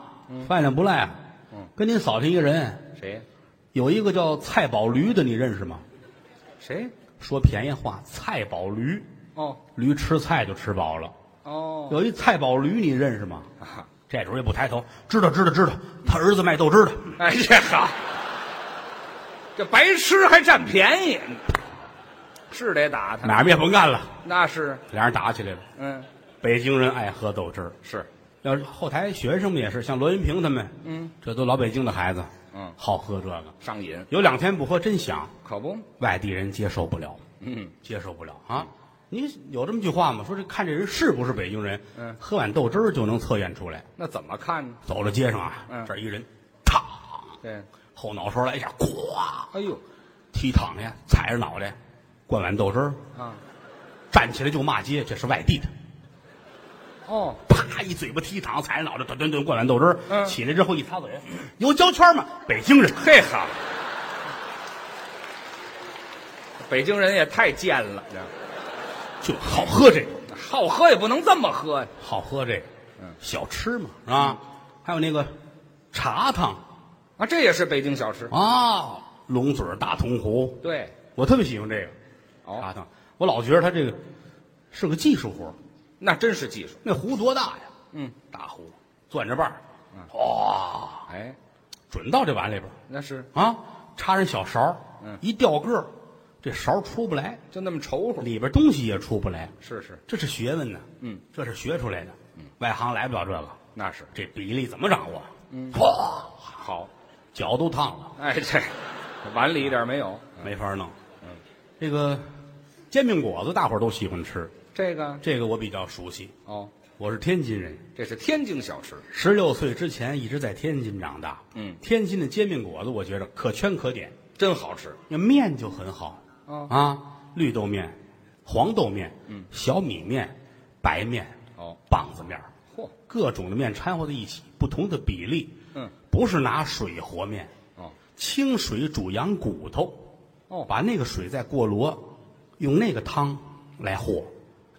Speaker 3: 饭量不赖啊。
Speaker 2: 嗯
Speaker 3: 跟您扫听一个人，
Speaker 2: 谁
Speaker 3: 有一个叫蔡宝驴的，你认识吗？
Speaker 2: 谁？
Speaker 3: 说便宜话，蔡宝驴，
Speaker 2: 哦
Speaker 3: 驴吃菜就吃饱了。
Speaker 2: 哦，
Speaker 3: 有一蔡宝驴，你认识吗？
Speaker 2: 啊
Speaker 3: 这主儿也不抬头，知道知道知道，他儿子卖豆汁儿的。
Speaker 2: 哎呀好，这白吃还占便宜，是得打他，
Speaker 3: 买卖也甭干了，
Speaker 2: 那是，
Speaker 3: 俩人打起来了。
Speaker 2: 嗯，
Speaker 3: 北京人爱喝豆汁儿，
Speaker 2: 是，
Speaker 3: 要是后台学生们也是，像罗云平他们，
Speaker 2: 嗯，
Speaker 3: 这都老北京的孩子，
Speaker 2: 嗯
Speaker 3: 好喝这个。
Speaker 2: 上瘾，
Speaker 3: 有两天不喝真想，
Speaker 2: 可不，
Speaker 3: 外地人接受不了，
Speaker 2: 嗯，
Speaker 3: 接受不了啊！你有这么句话吗？说这看这人是不是北京人，
Speaker 2: 嗯
Speaker 3: 喝碗豆汁儿就能测验出来。
Speaker 2: 那怎么看呢？
Speaker 3: 走到街上啊，
Speaker 2: 嗯
Speaker 3: 这儿一人，嘡，
Speaker 2: 对，
Speaker 3: 后脑勺来一下，咵，
Speaker 2: 哎呦，
Speaker 3: 踢躺下，踩着脑袋，灌碗豆汁儿，
Speaker 2: 啊，
Speaker 3: 站起来就骂街，这是外地的。
Speaker 2: 哦，
Speaker 3: 啪一嘴巴踢躺，踩着脑袋，顿顿顿灌碗豆汁儿。
Speaker 2: 嗯
Speaker 3: 起来之后一擦嘴，有胶圈吗？北京人，嘿哈，
Speaker 2: 北京人也太贱了，
Speaker 3: 就好喝这个，
Speaker 2: 这好喝也不能这么喝呀，
Speaker 3: 好喝这个，
Speaker 2: 嗯
Speaker 3: 小吃嘛，是吧？还有那个茶汤
Speaker 2: 啊，这也是北京小吃，
Speaker 3: 啊，龙嘴儿大铜壶，
Speaker 2: 对，
Speaker 3: 我特别喜欢这个。
Speaker 2: 哦
Speaker 3: 啊，等我老觉得他这个是个技术活儿
Speaker 2: 那真是技术。
Speaker 3: 那壶多大呀？
Speaker 2: 嗯，
Speaker 3: 大壶，攥着把儿，哇，
Speaker 2: 哎，
Speaker 3: 准到这碗里边儿
Speaker 2: 那是
Speaker 3: 啊，插上小勺儿，
Speaker 2: 嗯
Speaker 3: 一掉个儿，这勺儿出不来，
Speaker 2: 就那么稠乎。
Speaker 3: 里边东西也出不来，
Speaker 2: 是是，
Speaker 3: 这是学问呢。
Speaker 2: 嗯，
Speaker 3: 这是学出来的。嗯，外行来不了这个，
Speaker 2: 那是
Speaker 3: 这比例怎么掌握？嗯，哇，
Speaker 2: 好。
Speaker 3: 脚都烫了，
Speaker 2: 哎，这碗里一点没有。
Speaker 3: 没法弄。嗯，这个煎饼果子大伙儿都喜欢吃，
Speaker 2: 这个
Speaker 3: 这个我比较熟悉。
Speaker 2: 哦，
Speaker 3: 我是天津人，
Speaker 2: 这是天津小吃。
Speaker 3: 十六岁之前一直在天津长大。
Speaker 2: 嗯
Speaker 3: 天津的煎饼果子，我觉着可圈可点，
Speaker 2: 真好吃。
Speaker 3: 那面就很好。
Speaker 2: 哦
Speaker 3: 啊，绿豆面、黄豆面、嗯、小米面、白面、
Speaker 2: 哦，
Speaker 3: 棒子面儿，
Speaker 2: 嚯，
Speaker 3: 各种的面掺和在一起，不同的比例。
Speaker 2: 嗯，
Speaker 3: 不是拿水和面，
Speaker 2: 哦
Speaker 3: 清水煮羊骨头，
Speaker 2: 哦，
Speaker 3: 把那个水再过箩，用那个汤来和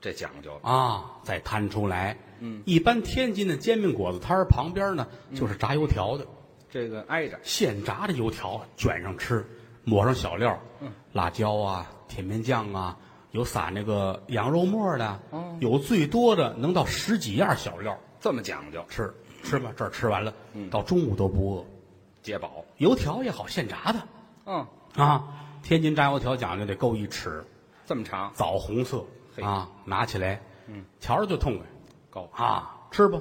Speaker 2: 这讲究。
Speaker 3: 啊，再摊出来。嗯，一般天津的煎饼果子摊儿旁边呢，
Speaker 2: 嗯
Speaker 3: 就是炸油条的，
Speaker 2: 这个挨着。
Speaker 3: 现炸的油条卷上吃，抹上小料，嗯，辣椒啊，甜面酱啊，有撒那个羊肉沫的，
Speaker 2: 哦
Speaker 3: 有最多的能到十几样小料
Speaker 2: 这么讲究，
Speaker 3: 吃，吃吧，这儿吃完了，到中午都不饿。
Speaker 2: 解饱。
Speaker 3: 油条也好，现炸的
Speaker 2: 嗯，
Speaker 3: 啊，天津炸油条讲究得够一尺，
Speaker 2: 这么长，
Speaker 3: 枣红色
Speaker 2: 嘿
Speaker 3: 啊，拿起来，嗯，瞧着就痛快
Speaker 2: 高
Speaker 3: 啊，吃吧，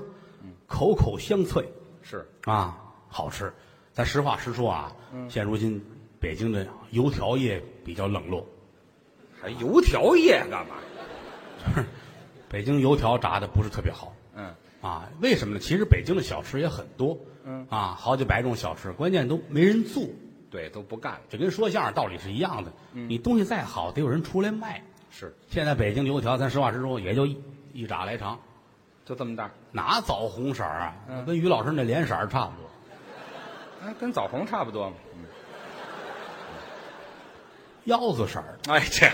Speaker 3: 口口香脆
Speaker 2: 是
Speaker 3: 啊，好吃。咱实话实说啊，现如今北京的油条业比较冷落，
Speaker 2: 还油条叶干嘛？
Speaker 3: 北京油条炸的不是特别好
Speaker 2: 嗯，
Speaker 3: 啊，为什么呢？其实北京的小吃也很多，
Speaker 2: 嗯
Speaker 3: 啊，好几百种小吃，关键都没人做，
Speaker 2: 对，都不干了。
Speaker 3: 这跟说相声道理是一样的。你东西再好，得有人出来卖。
Speaker 2: 是，
Speaker 3: 现在北京油条，咱实话实说，也就一一扎来长，
Speaker 2: 就这么大。
Speaker 3: 哪枣红色儿啊？跟于老师那脸色儿差不多。
Speaker 2: 哎，跟枣红差不多嘛。
Speaker 3: 腰子色儿的，
Speaker 2: 哎，这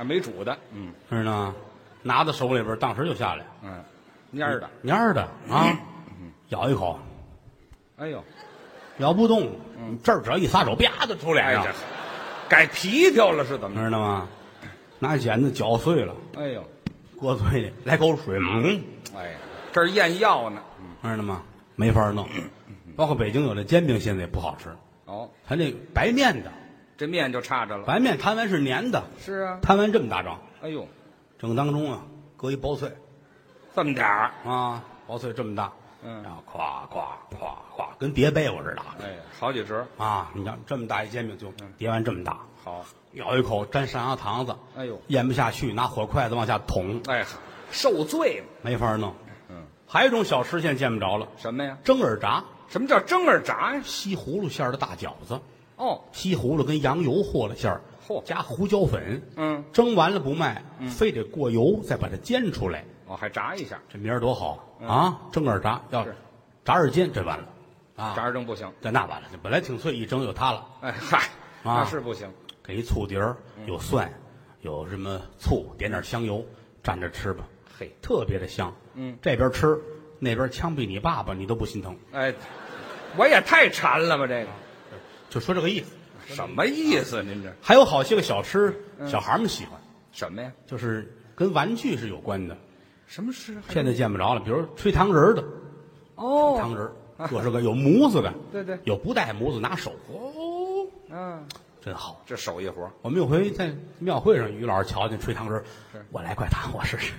Speaker 2: 啊没煮的。嗯
Speaker 3: 知道吗？拿到手里边儿，当时就下来，
Speaker 2: 嗯，蔫儿的。
Speaker 3: 蔫儿的啊，
Speaker 2: 嗯
Speaker 3: 咬一口，
Speaker 2: 哎呦，
Speaker 3: 咬不动，这儿只要一撒手，啪就出
Speaker 2: 嗯哎
Speaker 3: 脸上，
Speaker 2: 这改皮条了是怎么？
Speaker 3: 知道吗？拿剪子绞碎了，
Speaker 2: 哎呦，
Speaker 3: 搁嘴里，来口水，嗯，
Speaker 2: 哎呀，这儿验药呢。
Speaker 3: 知道吗？没法弄。
Speaker 2: 嗯
Speaker 3: 包括北京有的煎饼，现在也不好吃，
Speaker 2: 哦，
Speaker 3: 它那白面的，
Speaker 2: 这面就差着了。
Speaker 3: 白面摊完是粘的，
Speaker 2: 是啊。
Speaker 3: 摊完这么大张，
Speaker 2: 哎呦，
Speaker 3: 正当中啊，搁一薄脆，
Speaker 2: 这么点儿。
Speaker 3: 啊，薄脆这么大，
Speaker 2: 嗯
Speaker 3: 然后咵咵咵咵，跟叠被窝似的
Speaker 2: 哎呀，好几折。
Speaker 3: 啊！你看这么大一煎饼就
Speaker 2: 嗯
Speaker 3: 叠完这么大，
Speaker 2: 好。
Speaker 3: 咬一口沾上牙糖子，
Speaker 2: 哎呦
Speaker 3: 咽不下去，拿火筷子往下捅，
Speaker 2: 哎呀，受罪嘛。
Speaker 3: 没法弄。
Speaker 2: 嗯，
Speaker 3: 还有一种小吃现在见不着了，
Speaker 2: 什么呀？
Speaker 3: 蒸耳炸，
Speaker 2: 什么叫蒸耳炸呀？
Speaker 3: 西葫芦馅儿的大饺子，
Speaker 2: 哦，
Speaker 3: 西葫芦跟羊油和了馅儿，
Speaker 2: 嚯
Speaker 3: 加胡椒粉，
Speaker 2: 嗯，
Speaker 3: 蒸完了不卖，非得过油再把它煎出来，
Speaker 2: 哦，还炸一下，
Speaker 3: 这名儿多好啊！蒸耳炸要
Speaker 2: 嗯是
Speaker 3: 炸耳尖，这完了啊！
Speaker 2: 炸着蒸不行。
Speaker 3: 这那完了，这本来挺脆，一蒸就塌了。
Speaker 2: 哎嗨，
Speaker 3: 啊
Speaker 2: 那是不行。
Speaker 3: 给一醋碟儿，
Speaker 2: 嗯
Speaker 3: 有蒜，有什么醋，点点香油，蘸着吃吧，
Speaker 2: 嘿，
Speaker 3: 特别的香。
Speaker 2: 嗯，
Speaker 3: 这边吃，那边枪毙你爸爸，你都不心疼，
Speaker 2: 哎，我也太馋了吧，这个
Speaker 3: 就说这个意思。
Speaker 2: 什么意思？啊您这
Speaker 3: 还有好些个小吃，小孩们喜欢，
Speaker 2: 什么呀？
Speaker 3: 就是跟玩具是有关的，
Speaker 2: 什么诗？
Speaker 3: 现在见不着了。比如吹糖人儿的，
Speaker 2: 哦，
Speaker 3: 糖人儿，各式各有模子的，
Speaker 2: 对对
Speaker 3: 有不带模子拿手，哦，
Speaker 2: 嗯，
Speaker 3: 真好。
Speaker 2: 这手艺活儿
Speaker 3: 我们有回在庙会上，于老师瞧见吹糖人儿，我来块糖，我试试。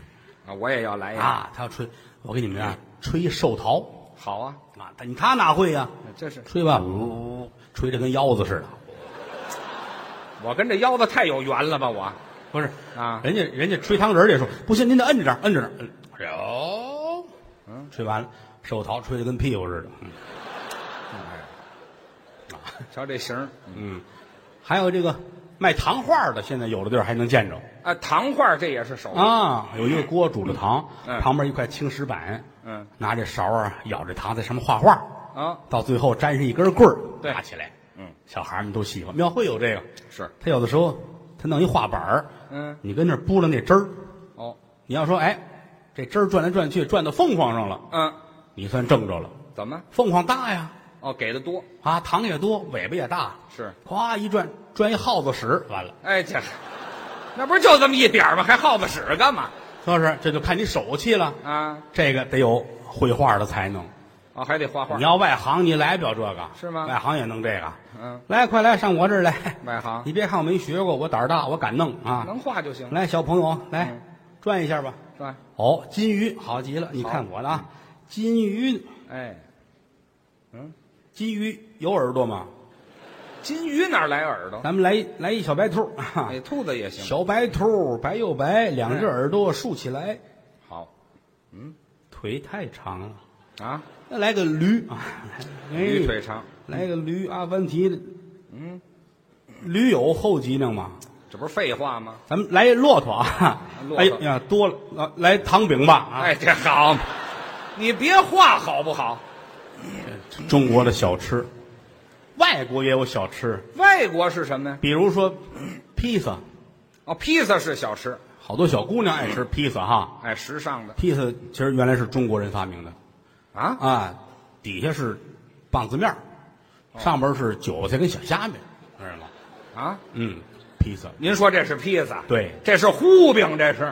Speaker 2: 啊，我也要来一个。
Speaker 3: 啊，他要吹，我给你们啊，吹寿桃
Speaker 2: 好啊，
Speaker 3: 啊，他你他哪会呀、
Speaker 2: 这是
Speaker 3: 吹吧，呜、吹的跟腰子似的，
Speaker 2: 我跟这腰子太有缘了吧？我
Speaker 3: 不是
Speaker 2: 啊
Speaker 3: 人家人家吹糖人儿也说不行，您得摁着点儿，摁着点儿，摁
Speaker 2: 嗯
Speaker 3: 有，嗯，吹完了，寿桃吹的跟屁股似的，嗯
Speaker 2: 哎瞧这形儿
Speaker 3: 还有这个卖糖画儿的，现在有的地儿还能见着
Speaker 2: 啊，糖画这也是手艺。
Speaker 3: 啊，有一个锅煮着糖，
Speaker 2: 嗯
Speaker 3: 旁边一块青石板，
Speaker 2: 嗯，
Speaker 3: 拿这勺啊舀着糖在上面画画，
Speaker 2: 啊，
Speaker 3: 到最后粘上一根棍儿，
Speaker 2: 对
Speaker 3: 拿起来，
Speaker 2: 嗯，
Speaker 3: 小孩儿们都喜欢，庙会有这个。
Speaker 2: 是
Speaker 3: 他有的时候他弄一画板儿，
Speaker 2: 嗯
Speaker 3: 你跟那儿拨拉那汁儿，
Speaker 2: 哦，
Speaker 3: 你要说哎，这汁儿转来转去转到凤凰上了，
Speaker 2: 嗯，
Speaker 3: 你算挣着了。
Speaker 2: 怎么
Speaker 3: 凤凰大呀，
Speaker 2: 哦，给的多，
Speaker 3: 啊，糖也多，尾巴也大，
Speaker 2: 是
Speaker 3: 咵一转转一耗子屎，完了，
Speaker 2: 哎，这那不是就这么一点儿吗？还耗子屎干嘛
Speaker 3: 是不是？这就看你手气了。
Speaker 2: 啊？
Speaker 3: 这个得有绘画的才能，
Speaker 2: 哦，还得画画
Speaker 3: 你，要外行你来不了这个，
Speaker 2: 是吗
Speaker 3: 外行也弄这个，
Speaker 2: 嗯，
Speaker 3: 来，快来上我这儿来。
Speaker 2: 外行
Speaker 3: 你别看我没学过，我胆儿大，我敢弄啊！
Speaker 2: 啊能画就行，
Speaker 3: 来，小朋友，来
Speaker 2: 嗯
Speaker 3: 转一下吧。
Speaker 2: 是吧？
Speaker 3: 哦，金鱼好极了，你看我的啊，金鱼，
Speaker 2: 哎，
Speaker 3: 金鱼有耳朵吗？
Speaker 2: 金鱼哪儿来耳朵？
Speaker 3: 咱们来一来一小白兔，啊哈哈
Speaker 2: 哎，兔子也行，
Speaker 3: 小白兔白又白，两只耳朵竖起来，
Speaker 2: 好
Speaker 3: 腿太长了。
Speaker 2: 啊，
Speaker 3: 那来个 驴啊，哎
Speaker 2: 驴腿长，
Speaker 3: 来个驴，阿凡提，
Speaker 2: 嗯，
Speaker 3: 驴有后脊梁吗？
Speaker 2: 这不是废话吗？
Speaker 3: 咱们来一骆驼啊！
Speaker 2: 骆驼
Speaker 3: 哎呀，多了，啊来糖饼吧啊！
Speaker 2: 哎，这好，你别画好不好？
Speaker 3: 中国的小吃，外国也有小吃，
Speaker 2: 外国是什么呀？
Speaker 3: 比如说披萨，
Speaker 2: 哦，披萨是小吃，
Speaker 3: 好多小姑娘爱吃披萨哈。
Speaker 2: 哎，时尚的
Speaker 3: 披萨其实原来是中国人发明的
Speaker 2: 啊，
Speaker 3: 啊，底下是棒子面儿
Speaker 2: 哦
Speaker 3: 上边是韭菜跟小虾米，知道吗？
Speaker 2: 啊，
Speaker 3: 嗯，披萨
Speaker 2: 您说这是披萨？
Speaker 3: 对
Speaker 2: 这是糊饼，这是，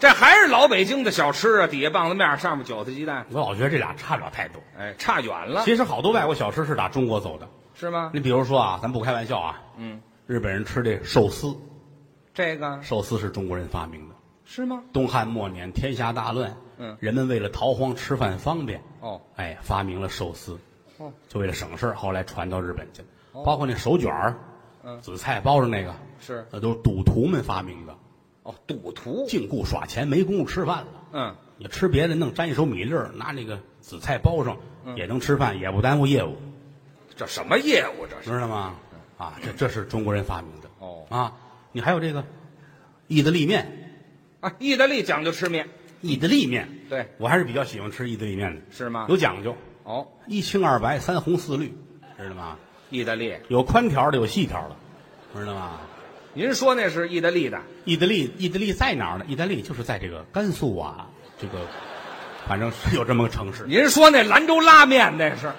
Speaker 2: 这还是老北京的小吃啊，底下棒子面，上面韭菜鸡蛋，
Speaker 3: 我老觉得这俩差不了太多。
Speaker 2: 哎，差远了，
Speaker 3: 其实好多外国小吃是打中国走的，
Speaker 2: 是吗？
Speaker 3: 你比如说啊，咱不开玩笑啊，
Speaker 2: 嗯，
Speaker 3: 日本人吃这寿司，
Speaker 2: 这个
Speaker 3: 寿司是中国人发明的。
Speaker 2: 是吗？
Speaker 3: 东汉末年，天下大乱，
Speaker 2: 嗯
Speaker 3: 人们为了逃荒吃饭方便，
Speaker 2: 哦
Speaker 3: 哎，发明了寿司，
Speaker 2: 哦，
Speaker 3: 就为了省事儿后来传到日本去了，包括那手卷儿，
Speaker 2: 嗯
Speaker 3: 紫菜包着那个，呃
Speaker 2: 是
Speaker 3: 那都是赌徒们发明的，
Speaker 2: 哦，赌徒，
Speaker 3: 净顾耍钱，没工夫吃饭了。
Speaker 2: 嗯，
Speaker 3: 你吃别的，弄沾一手米粒儿，拿那个紫菜包上，
Speaker 2: 嗯
Speaker 3: 也能吃饭，也不耽误业务，
Speaker 2: 这什么业务这是？嗯
Speaker 3: 知道吗？啊，这这是中国人发明的。
Speaker 2: 哦
Speaker 3: 啊，你还有这个意大利面，
Speaker 2: 啊，意大利讲究吃面，
Speaker 3: 意大利面，
Speaker 2: 对，
Speaker 3: 我还是比较喜欢吃意大利面的，
Speaker 2: 是吗
Speaker 3: 有讲究，
Speaker 2: 哦，
Speaker 3: 一清二白，三红四绿，知道吗？
Speaker 2: 意大利，
Speaker 3: 有宽条的，有细条的，知道吗？
Speaker 2: 您说那是意大利的
Speaker 3: 意大利，意大利在哪儿呢？意大利就是在这个甘肃啊，这个反正是有这么个城市，
Speaker 2: 您说那兰州拉面那是，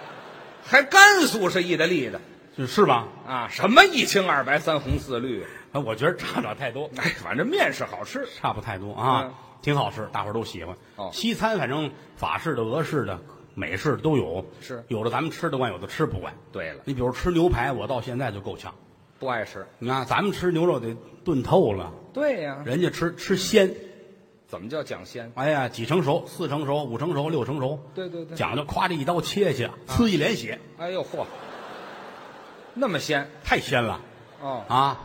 Speaker 2: 还甘肃是意大利的
Speaker 3: 就是吧？
Speaker 2: 啊？什么一清二白三红四绿？
Speaker 3: 啊我觉得差不了太多，
Speaker 2: 哎，反正面是好吃。
Speaker 3: 差不太多啊，
Speaker 2: 嗯
Speaker 3: 挺好吃，大伙儿都喜欢。
Speaker 2: 哦
Speaker 3: 西餐反正法式的、俄式的、美式的都有，
Speaker 2: 是
Speaker 3: 有的咱们吃得惯，有的吃不惯。
Speaker 2: 对了，
Speaker 3: 你比如吃牛排，我到现在就够呛。
Speaker 2: 不爱吃。
Speaker 3: 你看咱们吃牛肉得炖透了，
Speaker 2: 对呀、
Speaker 3: 人家吃吃鲜，
Speaker 2: 怎么叫讲鲜？
Speaker 3: 哎呀，几成熟、四成熟、五成熟、六成熟，
Speaker 2: 对对对
Speaker 3: 讲究，夸这一刀切下，呲一脸血，
Speaker 2: 哎呦嚯，那么鲜
Speaker 3: 太鲜了
Speaker 2: 哦！
Speaker 3: 啊！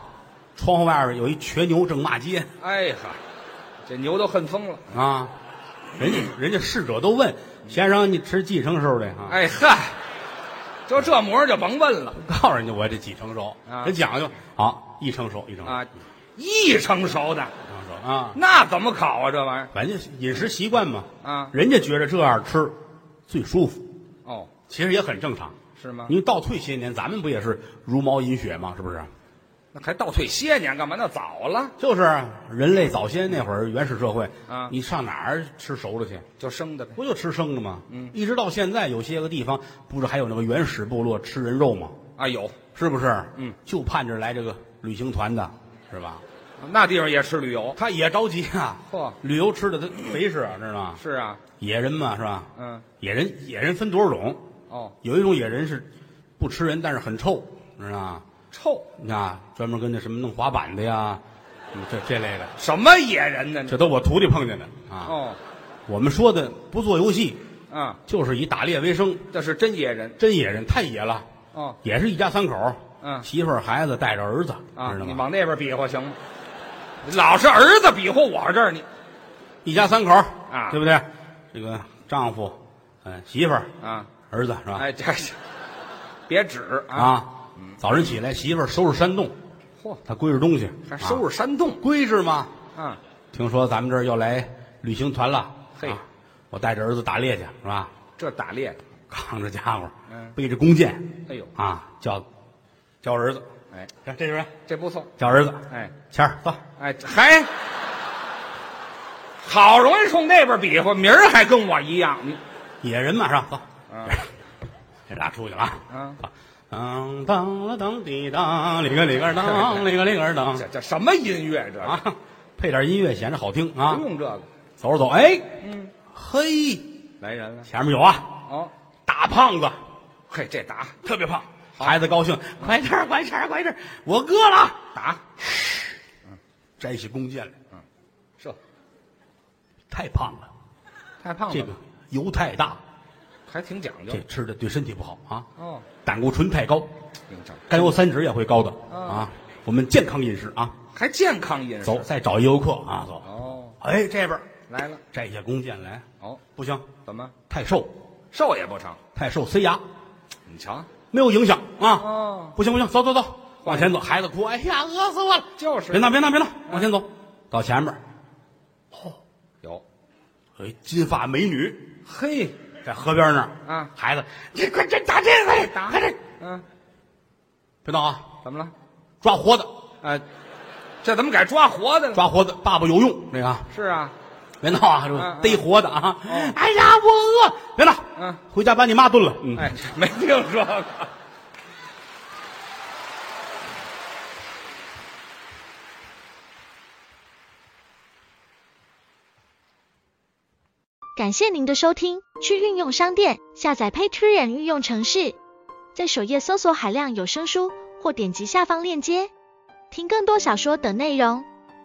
Speaker 3: 窗户外边有一瘸牛正骂街
Speaker 2: 哎哈，这牛都恨疯了。
Speaker 3: 啊，人家人家逝者都问先生，你吃几成熟的啊？
Speaker 2: 哎嗨，就这模样就甭问了
Speaker 3: 告诉人家我这几成熟，
Speaker 2: 啊
Speaker 3: 人讲究好一成熟一成熟
Speaker 2: 啊！一成熟的
Speaker 3: 一成熟啊，
Speaker 2: 那怎么烤啊？这玩意
Speaker 3: 反正饮食习惯嘛
Speaker 2: 儿啊？
Speaker 3: 人家觉着这样吃最舒服，
Speaker 2: 哦，
Speaker 3: 其实也很正常。
Speaker 2: 是吗？
Speaker 3: 因为倒退些年，咱们不也是茹毛饮血嘛，是不是？
Speaker 2: 那还倒退些年干嘛？那早了
Speaker 3: 就是啊人类早先那会儿原始社会
Speaker 2: 啊
Speaker 3: 你上哪儿吃熟的去？
Speaker 2: 就生的呗。
Speaker 3: 不就吃生的吗？嗯，一直到现在，有些个地方不是还有那个原始部落吃人肉吗？
Speaker 2: 啊，有
Speaker 3: 是不是？
Speaker 2: 嗯，
Speaker 3: 就盼着来这个旅行团的，是吧？
Speaker 2: 那地方也吃旅游。
Speaker 3: 他也着急啊，
Speaker 2: 嚯
Speaker 3: 旅游吃的他肥是，知道吗？
Speaker 2: 是啊，
Speaker 3: 野人嘛，是吧？
Speaker 2: 嗯，
Speaker 3: 野人野人分多少种？
Speaker 2: 哦，
Speaker 3: 有一种野人是不吃人，但是很臭，知道吗？
Speaker 2: 臭
Speaker 3: 你看啊，专门跟那什么弄滑板的呀，嗯这这类的，
Speaker 2: 什么野人呢？
Speaker 3: 这都我徒弟碰见的啊。
Speaker 2: 哦，
Speaker 3: 我们说的不做游戏，
Speaker 2: 啊，
Speaker 3: 就是以打猎为生，
Speaker 2: 这是真野人
Speaker 3: 真野人太野了，
Speaker 2: 哦。
Speaker 3: 也是一家三口，
Speaker 2: 嗯
Speaker 3: 媳妇儿孩子带着儿子，
Speaker 2: 啊，
Speaker 3: 知道
Speaker 2: 你
Speaker 3: 吗？
Speaker 2: 往那边比划行吗？老是儿子比划我这儿，你
Speaker 3: 一家三口
Speaker 2: 啊
Speaker 3: 对不对？这个丈夫，嗯，媳妇儿，
Speaker 2: 啊，
Speaker 3: 儿子是吧？
Speaker 2: 哎，这这别指啊，
Speaker 3: 啊，早晨起来，媳妇儿收拾山洞，
Speaker 2: 嚯，
Speaker 3: 她归置东西，
Speaker 2: 还收
Speaker 3: 拾
Speaker 2: 拾山洞
Speaker 3: 归置嘛。
Speaker 2: 啊，
Speaker 3: 听说咱们这儿要来旅行团了，
Speaker 2: 嘿
Speaker 3: 啊我带着儿子打猎去是吧？
Speaker 2: 这打猎，
Speaker 3: 扛着家伙
Speaker 2: 嗯，
Speaker 3: 背着弓箭
Speaker 2: 哎呦，
Speaker 3: 啊，叫叫儿子，
Speaker 2: 哎，
Speaker 3: 看这边
Speaker 2: 这不错，
Speaker 3: 叫儿子，
Speaker 2: 哎
Speaker 3: 谦儿走，
Speaker 2: 哎，还好容易冲那边比划，名儿还跟我一样，你
Speaker 3: 野人嘛是吧？走，
Speaker 2: 啊，
Speaker 3: 这俩出去了啊当
Speaker 2: 嗯！
Speaker 3: 当了当滴当，里个里个 当，里个里个当
Speaker 2: 这这什么音乐这是？
Speaker 3: 啊！配点音乐显着好听啊
Speaker 2: 不！用这个，
Speaker 3: 走着走，哎，嗯，嘿，
Speaker 2: 来人了。
Speaker 3: 前面有啊，
Speaker 2: 哦，
Speaker 3: 大胖子，
Speaker 2: 嘿，这打
Speaker 3: 特别胖，孩子高兴，快点儿快点儿快点儿我饿了，
Speaker 2: 打，
Speaker 3: 摘下弓箭来，
Speaker 2: 这
Speaker 3: 太胖了，
Speaker 2: 太胖了，
Speaker 3: 这个油太大，
Speaker 2: 还挺讲究
Speaker 3: 这。吃的对身体不好啊。
Speaker 2: 哦，
Speaker 3: 胆固醇太高，
Speaker 2: 挺讲究，
Speaker 3: 甘油三酯也会高的
Speaker 2: 嗯
Speaker 3: 啊。我们健康饮食啊，
Speaker 2: 还健康饮食。
Speaker 3: 走，再找一游客啊，走。
Speaker 2: 哦，
Speaker 3: 哎，这边儿
Speaker 2: 来了。
Speaker 3: 摘下弓箭来，
Speaker 2: 哦，
Speaker 3: 不行，
Speaker 2: 怎么
Speaker 3: 太瘦，
Speaker 2: 瘦也不成？
Speaker 3: 太瘦塞牙，
Speaker 2: 你瞧，
Speaker 3: 没有影响啊。
Speaker 2: 哦，
Speaker 3: 不行不行，走走走，往前走。孩子哭，哎呀，饿死我了。
Speaker 2: 就是
Speaker 3: 别闹别闹别闹，往前走，到前面儿，
Speaker 2: 有。
Speaker 3: 哎，金发美女
Speaker 2: 嘿，
Speaker 3: 在河边那儿
Speaker 2: 啊
Speaker 3: 孩子，你快这打这个，
Speaker 2: 打
Speaker 3: 快点，
Speaker 2: 嗯，
Speaker 3: 别闹啊，
Speaker 2: 怎么了？
Speaker 3: 抓活的，
Speaker 2: 啊，这怎么改抓活的了？
Speaker 3: 抓活的，爸爸有用，这个啊。
Speaker 2: 是啊，
Speaker 3: 别闹啊，这
Speaker 2: 嗯嗯
Speaker 3: 逮活的啊！
Speaker 2: 哦
Speaker 3: 哎呀，我饿，别闹。
Speaker 2: 嗯，
Speaker 3: 回家把你妈炖了。嗯，
Speaker 2: 哎，没听说过。
Speaker 4: 感谢您的收听，去运用商店下载 Patreon 运用城市，在首页搜索海量有声书，或点击下方链接听更多小说等内容。